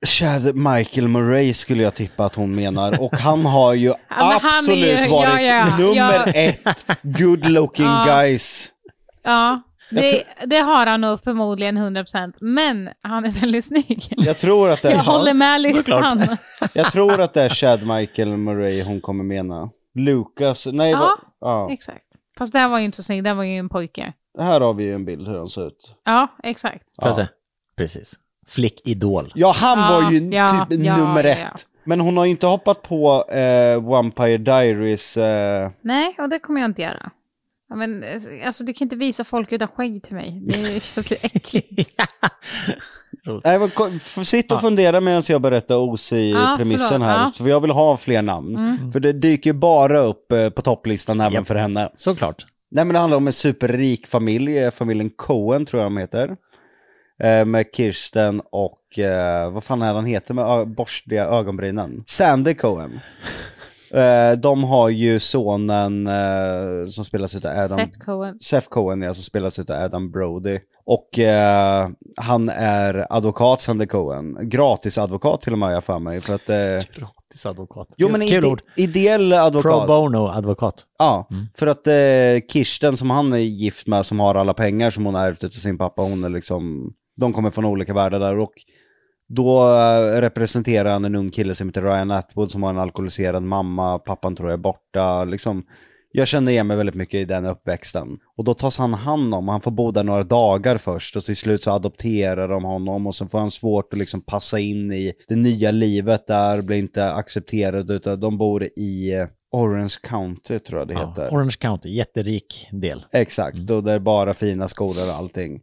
Chad Michael Murray skulle jag tippa att hon menar. Och han har ju han är absolut ju- ja, varit ja, nummer ja. ett. Good looking Ja. guys. Ja, det, det har han nog förmodligen 100%. Men han är väldigt snygg. Jag tror att det är Jag han. håller med liksom listan. Jag tror att det är Chad Michael Murray hon kommer mena. Lucas, nej Ja. vad- ja. Exakt. Fast det här var ju inte så snygg, det här var ju en pojke. Här har vi ju en bild hur han ser ut. Ja, exakt. Får jag Ja. se? Precis. Flickidol. Ja, han Ja, var ju ja, typ ja, nummer ja, ett. ja. Men hon har ju inte hoppat på eh, Vampire Diaries. Eh, Nej, och det kommer jag inte göra. Ja, men, eh, alltså, du kan inte visa folk utan skägg till mig. Det känns lite äckligt. nej, men, ko- f- sitt och fundera medan jag berättar OC-premissen förlåt, här. ja. Mm. För jag vill ha fler namn. För det dyker ju bara upp eh, på topplistan även Japp. för henne. Såklart. Nej men det handlar om en superrik familj, eh, familjen Cohen tror jag de heter. Eh, med Kirsten och, eh, vad fan är han heter med ö- borstiga ögonbrynen? Sandy Cohen. Eh, de har ju sonen eh, som spelas utav Adam... Seth Cohen. Seth Cohen ja, som spelas utav Adam Brody. Och eh, han är advokat, Sandy Cohen. Gratisadvokat till och med har jag för mig. För att, eh, Gratis advokat. jo men Kul ide- ord. ideell advokat. Pro bono-advokat. Ja, för att eh, Kirsten som han är gift med, som har alla pengar som hon har ärvt av sin pappa, hon är liksom, de kommer från olika världar där och då eh, representerar han en ung kille som heter Ryan Atwood som har en alkoholiserad mamma, pappan tror jag är borta, liksom. Jag känner igen mig väldigt mycket i den uppväxten. Och då tas han hand om, han får bo där några dagar först och till slut så adopterar de honom och sen får han svårt att liksom passa in i det nya livet där, blir inte accepterad utan de bor i eh, Orange County tror jag det Ja. heter. Orange County, jätterik del. Exakt, och det är bara fina skolor och allting.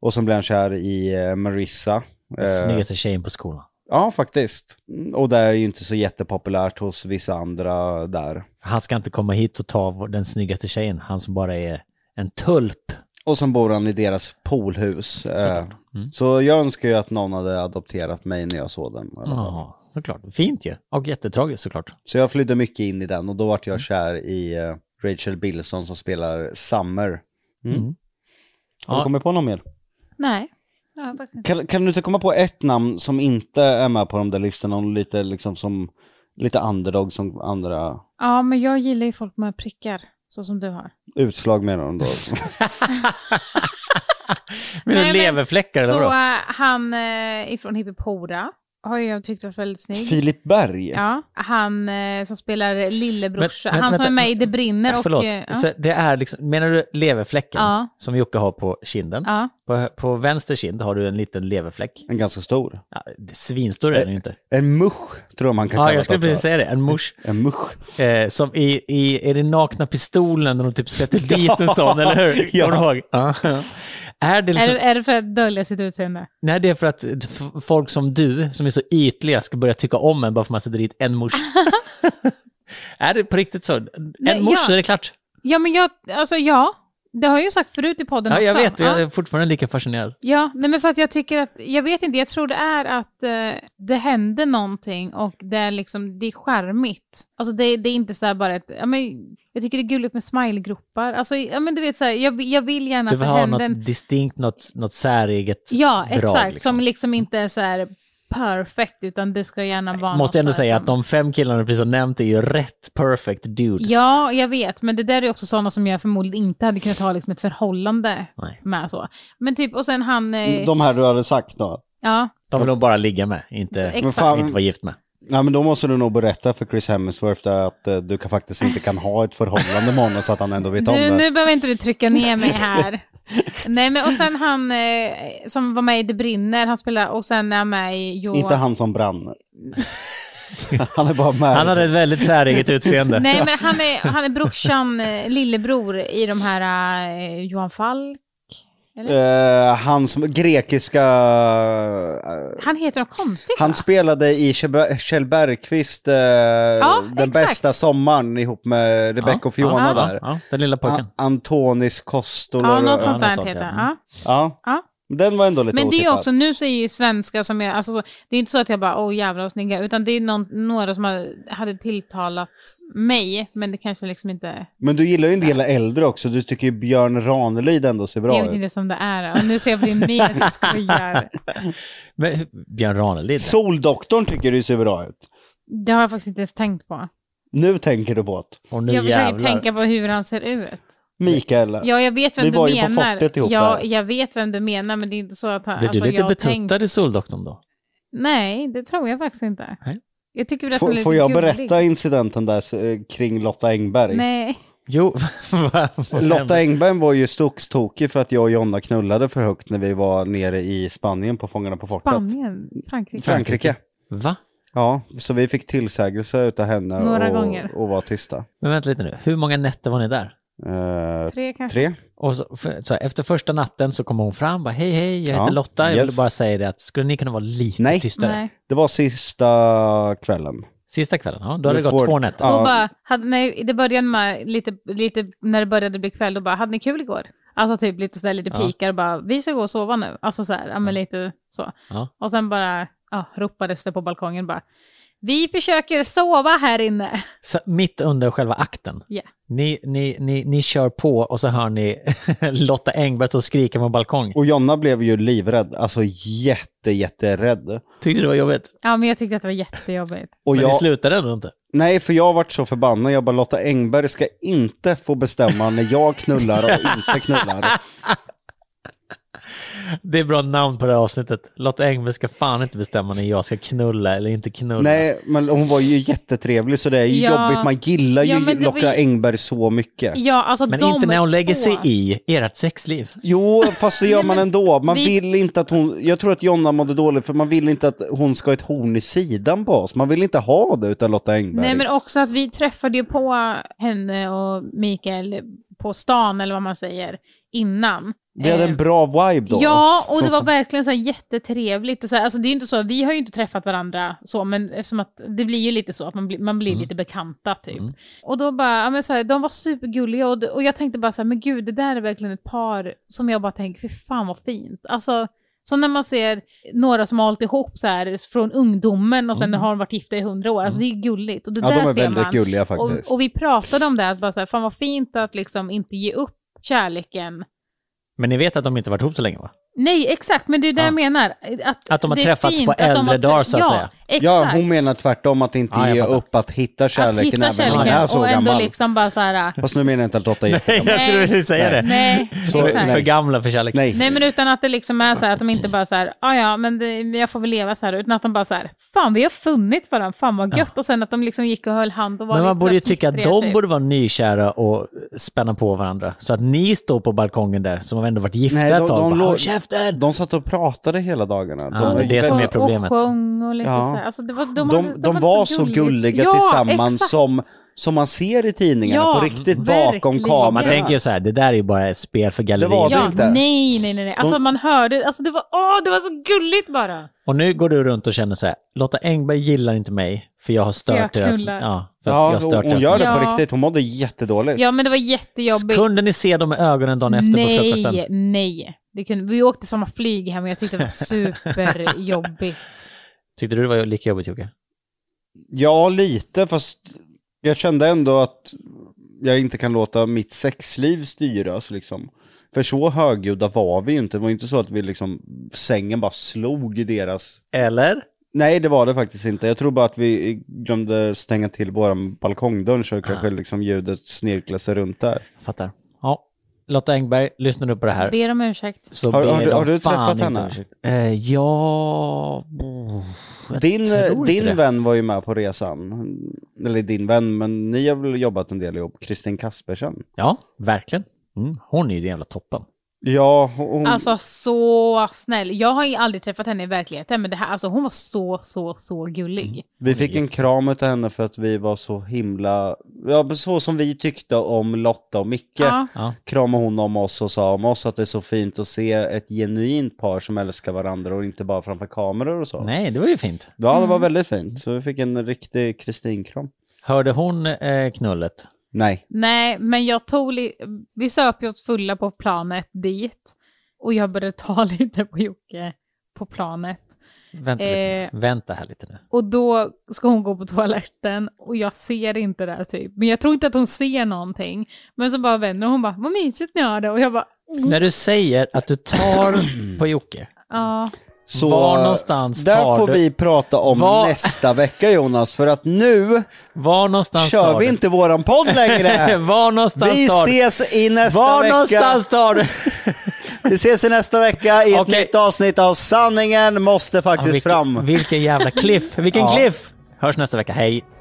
Och sen blir han kär i eh, Marissa. Eh, Snyggaste tjejen på skolan. Ja, faktiskt. Mm, Och det är ju inte så jättepopulärt hos vissa andra där. Han ska inte komma hit och ta vår- den snyggaste tjejen, han som bara är en tulp. Och sen bor han i deras poolhus. eh, Såklart. Mm. Så jag önskar ju att någon hade adopterat mig när jag såg den. i alla fall. Ja, såklart. Fint ju. Och jättetragiskt såklart. Så jag flydde mycket in i den och då vart jag kär i eh, Rachel Bilson som spelar Summer. Mm. Mm. Har du Ja. kommit på någon mer? Nej. Ja, faktiskt inte. Kan, kan du inte komma på ett namn som inte är med på de där listorna och lite liksom som lite underdog som andra ja, men jag gillar ju folk med prickar, så som du har. utslag menar de då? Men Nej, men- leverfläckar eller så vadå? eh, han eh, ifrån Hippipora har ju jag tyckt varit väldigt snygg. Filip Berg? Ja, han eh, som spelar lillebrorsan, Men- men- han som är vänta. med i Det brinner och... Förlåt, eh, ja. så det är liksom, menar du leverfläcken Ja. som Jocke har på kinden? Ja. På, på vänster kind har du en liten leverfläck. En ganska stor. Ja, det- svinstor är den ju inte. En musch tror Eh, jag man kan Ja, kalla jag skulle det precis också. säga det, en musch. En musch. Eh, som i, i, är det nakna pistolen när de typ sätter dit en sån, eller hur? Ja. Kommer du ihåg? Ja. Är det Är, liksom, det- är det för att dölja sitt utseende? nej, det är för att f- folk som du, som är så ytliga, ska börja tycka om en bara för att man sätter dit en mors. är det på riktigt så? En Nej, mors ja. är det klart. Ja, men jag, alltså ja, det har jag ju sagt förut i podden Ja, också. jag vet, jag Ja, är fortfarande lika fascinerad. ja nej, men för att jag tycker att, jag vet inte, jag tror det är att eh, det händer någonting och det är liksom, det är charmigt. Alltså det, det är inte så här bara ett, ja men jag tycker det är gulligt med smilegropar. Alltså, ja men du vet så här, jag, jag vill gärna Du att vill det ha händer en... något distinkt, något, något säreget Ja, drag, exakt, liksom. som liksom inte är så här perfekt, utan det ska gärna vara något Måste jag ändå så här säga som- att de fem killarna du precis har nämnt är ju rätt perfect dudes. Ja, jag vet. Men det där är också sådana som jag förmodligen inte hade kunnat ha liksom, ett förhållande Nej. med. så. Men typ, och sen han... Eh, De här du hade sagt då? ja, De vill de bara ligga med, inte, Exakt. inte vara gift med. Nej men då måste du nog berätta för Chris Hemsworth där att eh, du kan faktiskt inte kan ha ett förhållande med honom så att han ändå vet om Du, det. nu behöver inte du trycka ner mig här. Nej, men och sen han eh, som var med i Det brinner, han spelar, och sen är han med i Johan. Inte han som brann. han är bara med. Han hade ett väldigt säreget utseende. Nej, men han är, han är brorsan, eh, lillebror i de här eh, Johan Falk. Eh, han som grekiska... eh, Han heter något konstigt va? han spelade i Kjell- Kjell Bergqvist eh, Den exakt. bästa sommaren ihop med Rebecca och Fiona ja, där. Ja, den lilla pojken. A- Antonis Kostor. Ja, något och- sånt där något sånt, heter ja. han. Ja. Ja. Ja. Den var ändå lite Men det är ju typ. Mm. otippad. också, nu säger ju svenska som jag, alltså så, det är inte så att jag bara åh jävlar vad snygga, utan det är någon, några som har, hade tilltalat mig, men det kanske liksom inte, Men du gillar ju en del äldre också. Du tycker ju Björn Ranelid ändå ser bra jag vet ut. inte som det är. Och nu ser jag på din min att jag skojar. Men Björn Ranelid. Soldoktorn tycker du ser bra ut. Det har jag faktiskt inte ens tänkt på. Nu tänker du på det. Och nu jag försöker jävlar. tänka på hur han ser ut. Mikael. Ja, jag vet vem Vi du var ju på menar. fortet ihop ja, där. jag vet vem du menar, men det är inte så att han... alltså, Blir du lite jag har betuttad tänkt- i Soldoktorn då? Nej, det tror jag faktiskt inte. Nej. Jag tycker väl att han är Får, lite får jag gullig. berätta incidenten där eh, kring Lotta Engberg? Nej. Jo, vad- vad Lotta hände? Engberg var ju stokstokig för att jag och Jonna knullade för högt när vi var nere i Spanien på Fångarna på fortet. Spanien, Frankrike. Frankrike. Va? Ja, så vi fick tillsägelse utav henne Några och, gånger. och var tysta. Men vänta lite nu, hur många nätter var ni där? Eh, Tre kanske. tre? Och så, för, så här, efter första natten så kom hon fram bara hej hej, jag heter Ja, Lotta, jag yes. ville bara säga det att skulle ni kunna vara lite Nej. tystare? Nej. Det var sista kvällen. Sista kvällen, ja, då har Du det gått får- två nätter. Då Ja. bara, hade, nej, det började med lite, lite, när det började bli kväll, då bara, hade ni kul igår? Alltså typ lite sådär, lite Ja. pikar och bara, vi ska gå och sova nu. Alltså så här, ja men lite så. Ja. Och sen bara, ja, ropades det på balkongen bara, vi försöker sova här inne. Så mitt under själva akten, Ja. ni, ni, ni, ni kör på och så hör ni Lotta Engberg som skriker på balkong. Och Jonna blev ju livrädd, alltså jätte, jätterädd. Tyckte det var jobbigt. Ja, men jag tyckte att det var jättejobbigt. Och Men jag, ni slutade ändå inte. nej, för jag vart så förbannad. Jag bara, Lotta Engberg ska inte få bestämma när jag knullar och inte knullar. Det är bra namn på det här avsnittet. Lotta Engberg ska fan inte bestämma när jag ska knulla eller inte knulla. Nej, men hon var ju jättetrevlig, så det är ju Ja. jobbigt. Man gillar ju Ja, men det Lotta var ju- Engberg så mycket. Ja, alltså Men de inte när hon lägger två. sig i ert sexliv. Jo, fast det gör Nej, man men ändå. Man vi- vill inte att hon... Jag tror att Jonna mådde dåligt, för man vill inte att hon ska ha ett horn i sidan på oss. Man vill inte ha det utan Lotta Engberg. Nej, men också att vi träffade ju på henne och Mikael på stan, eller vad man säger, innan. Vi hade Eh, en bra vibe då. Ja, och Så- det var så- verkligen så här jättetrevligt. Och så här, alltså det är ju inte så, vi har ju inte träffat varandra så, men eftersom att det blir ju lite så att man blir, man Mm. blir lite bekanta typ. Och då bara, ja, men så här, de var supergulliga och, och jag tänkte bara så här, men gud, det där är verkligen ett par som jag bara tänker, för fan vad fint. Alltså, som när man ser några som har hållit ihop så här från ungdomen och sen har de varit gifta i hundra år. Alltså det är ju gulligt. Och det Mm. Ja, där de är ser väldigt man. gulliga Och, faktiskt. och vi pratade om det, att bara så här, fan vad fint att liksom inte ge upp kärleken Men ni vet att de inte varit ihop så länge va? Nej, exakt, men det är det Ja. jag menar. Att, Att de har det är träffats fint på att de har äldre dagar, så att ja, säga. Exakt. Ja, hon menar tvärtom att inte Ja, jag ge fattar. upp att hitta att kärleken hitta även när man är kärleken så och ändå gammal. liksom bara så här, Fast nu menar jag inte att Lotta är jättegammal. Jag skulle vilja säga Nej. det. nej, Så- exakt. För gamla för kärlek. Nej. Nej, men utan att det liksom är så här att de inte bara så här, "Ah, ja ja, men det, jag får väl leva så här, utan att de bara så här, fan vi har funnit varandra, fan vad gött, och sen att de liksom gick och höll hand och var Men lite man så borde ju här tycka att fnittriga, de typ. borde vara nykära och spänna på varandra. Så att ni står på balkongen där, som har ändå varit gifta Nej, de- ett tag, de och bara, låg- håll käften! De satt och pratade hela dagarna. Ja, det är det väldigt- som är Och- problemet. Och sjöng och lite Ja. så här. Alltså, det var, de, de, hade- de, hade var så gulligt. gulliga ja, tillsammans exakt. som, som man ser i tidningarna Ja, på riktigt bakom verkligen. kameran. Man Ja. tänker ju så här, det där är ju bara ett spel för galleriet. Det var det Ja, inte. nej, nej, nej, nej. Alltså De- man hörde, alltså det var, åh, det var så gulligt bara. Och nu går du runt och känner så här, Lotta Engberg gillar inte mig för jag har stört jag deras... knullar. Ja, för att jag Ja, har hon, stört hon deras... gör det liv. på Ja. riktigt. Hon mådde jättedåligt. Ja, men det var jättejobbigt. Kunde ni se dem i ögonen dagen efter på frukosten? nej, nej. Det kunde, vi åkte samma flyg hem och jag tyckte det var superjobbigt. Tyckte du det var lika jobbigt Jocke? Ja, lite, fast jag kände ändå att jag inte kan låta mitt sexliv styras liksom. För så högljudda var vi ju inte. Det var ju inte så att vi liksom, sängen bara slog i deras... Eller? Nej, det var det faktiskt inte. Jag tror bara att vi glömde stänga till vår balkongdörr så kanske liksom ljudet snirklade sig runt där. Fattar. Ja. Lotta Engberg, lyssnar du på det här? Ber om ursäkt. Så Har- ber har du- de har du fan träffat inte henne? om ursäkt. Eh, ja... Eh, Jag Din, tror inte det. din vän var ju med på resan. Eller din vän, men ni har väl jobbat en del ihop. Kristin Kaspersen. Ja, verkligen. Mm. Hon är ju den jävla toppen. Ja, hon, Mm. Alltså så snäll. Jag har ju aldrig träffat henne i verkligheten, men det här, alltså, hon var så, så, så gullig. Mm. vi fick en kram utav henne för att vi var så himla... Ja, men så som vi tyckte om Lotta och Micke. Ja. Ja. Kramade hon om oss och sa om oss att det är så fint att se ett genuint par som älskar varandra och inte bara framför kameror och så. Nej, det var ju fint. Ja, det var väldigt fint. Så vi fick en riktig Kristin-kram. Hörde hon eh, knullet? Nej. Nej, men jag tog li- vi söp ju oss fulla på planet dit och jag började ta lite på Jocke på planet. Vänta, lite. nu. Vänta här lite nu. Och då ska hon gå på toaletten och jag ser inte det här typ. Men jag tror inte att hon ser någonting. Men så bara vänder hon och bara, vad mysigt ni har det. Och jag bara, När du säger att du tar på Jocke, ja. Så Var någonstans där tar får du- vi prata om Var- nästa vecka Jonas, för att nu var någonstans kör tar vi du? inte våran podd längre. var någonstans vi tar du? ses i nästa Var vecka. någonstans tar du? Vi ses i nästa vecka i ett Okej. nytt avsnitt av Sanningen måste Ja, faktiskt vilken, fram. vilken jävla cliff, vilken Ja. cliff! Hörs nästa vecka, hej!